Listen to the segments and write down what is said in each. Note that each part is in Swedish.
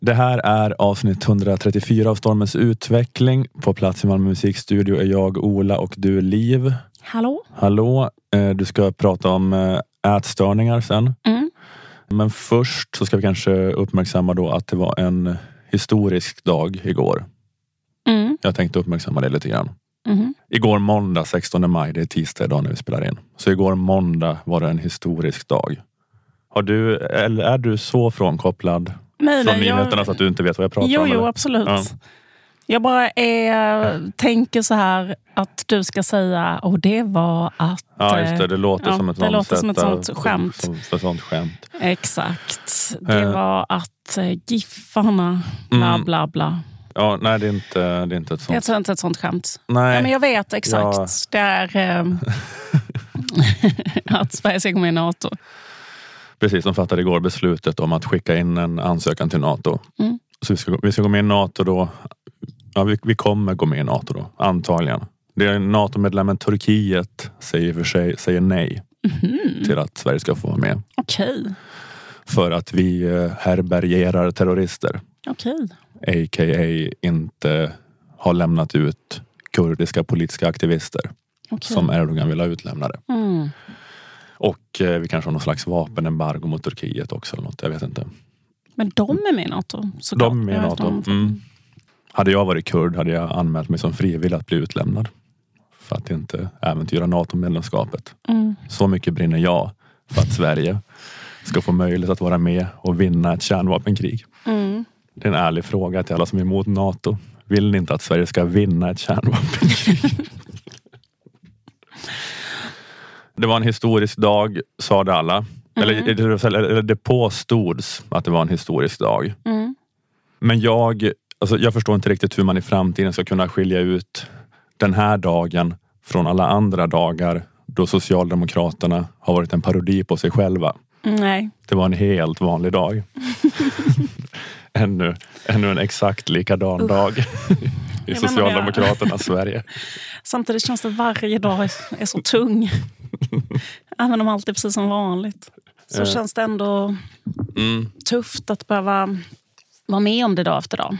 Det här är avsnitt 134 av Stormens utveckling. På plats i Malmö musikstudio är jag Ola och du Liv. Hallå? Hallå! Eh, Du ska prata om eh, ätstörningar sen. Mm. Men först så ska vi kanske uppmärksamma då att det var en historisk dag igår. Mm. Jag tänkte uppmärksamma det lite grann. Mhm. Igår måndag 16 maj, det är tisdag idag när vi spelar in. Så igår måndag var det en historisk dag. Har du, eller är du så frånkopplad Nej, från nej, jag- nyheterna så att du inte vet vad jag pratar Jo, om? jo, eller? absolut. Ja. Jag bara är, tänker så här att du ska säga och det var att... Ja, just det. Det låter ja, som ett det låter vansätt som ett av- sånt skämt. Som, som, ett sånt skämt. eh, Exakt. Det Eh. var att eh, Giffarna bla Mm. bla bla. Ja, nej, det är inte, det är inte ett sånt. Jag tror inte ett sånt skämt. nej, Ja, men jag vet exakt. Ja. Det är eh, att Sverige ska gå med i Nato. precis. De fattade igår beslutet om att skicka in en ansökan till Nato. Mm. Så vi ska, gå- vi ska gå med i Nato då. Ja, vi, vi kommer gå med i Nato då, antagligen. Det är NATO-medlemmen Turkiet säger i och för sig säger nej Mm. till att Sverige ska få vara med. Mhm, Okej, För att vi eh, härbärgerar terrorister. okej. A.k.a. inte har lämnat ut kurdiska politiska aktivister. okej. som Erdogan vill ha utlämnade. Mm. Och eh, vi kanske har någon slags vapenembargo mot Turkiet också. Eller något, jag vet inte. Men de är med i Nato? såklart. De är Jag med i vet Nato. vad de- Mm. Hade jag varit kurd hade jag anmält mig som frivillig att bli utlämnad. För att inte äventyra NATO-medlemskapet. Mm. Så mycket brinner jag för att Sverige ska få möjlighet att vara med och vinna ett kärnvapenkrig. Mm. Det är en ärlig fråga till alla som är emot Nato. Vill ni inte att Sverige ska vinna ett kärnvapenkrig? det var en historisk dag, sa det alla. Eller, eller, eller det påstods att det var en historisk dag. Mm. Men jag, alltså, jag förstår inte riktigt hur man i framtiden ska kunna skilja ut den här dagen från alla andra dagar då Socialdemokraterna har varit en parodi på sig själva. Nej. Det var en helt vanlig dag. ännu, ännu en exakt likadan dag i om jag- Socialdemokraternas Sverige. Samtidigt känns det varje dag är så tung. Även om allt är precis som vanligt. Så känns det ändå Mm. tufft att behöva vara med om det dag efter dag.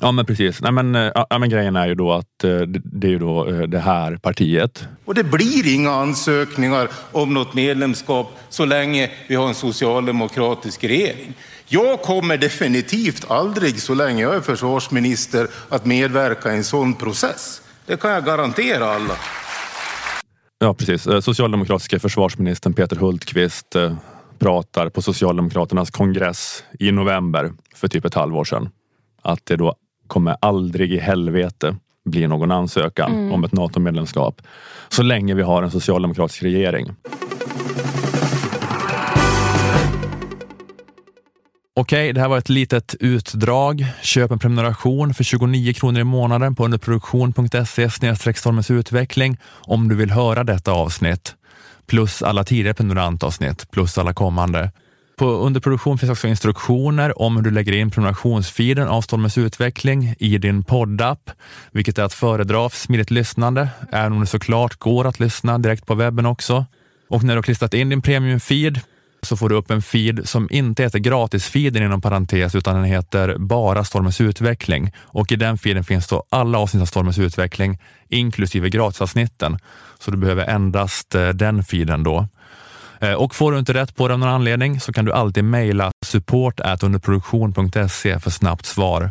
Ja men precis. Nej, men, eh, ja, men grejen är ju då att eh, det- det är ju då eh, det här partiet. Och det blir inga ansökningar om något medlemskap så länge vi har en socialdemokratisk regering. Jag kommer definitivt aldrig, så länge jag är försvarsminister, att medverka i en sån process. Det kan jag garantera alla. Ja precis. Eh, Socialdemokratiska försvarsministern Peter Hultqvist eh, pratar på Socialdemokraternas kongress i november för typ ett halvår sedan. Att det då kommer aldrig i helvete bli någon ansökan om ett NATO-medlemskap. Så länge vi har en socialdemokratisk regering. Okej, det här var ett litet utdrag. Köp en prenumeration för 29 kronor i månaden på underproduktion.se stormens utveckling om du vill höra detta avsnitt. Plus alla tidigare prenumerantavsnitt, plus alla kommande. På underproduktion finns också instruktioner om hur du lägger in prenumerationsfiden av Stormens utveckling i din poddapp, vilket är att föredra för smidigt lyssnande, även om det såklart går att lyssna direkt på webben också. Och när du har klistrat in din premiumfeed så får du upp en feed som inte heter gratisfeeden inom parentes utan den heter bara Stormens utveckling. Och i den feeden finns då alla avsnitt av Stormens utveckling inklusive gratisavsnitten. Så du behöver endast eh, den feeden då. Eh, Och får du inte rätt på det av någon anledning så kan du alltid mejla support underproduktion.se för snabbt svar.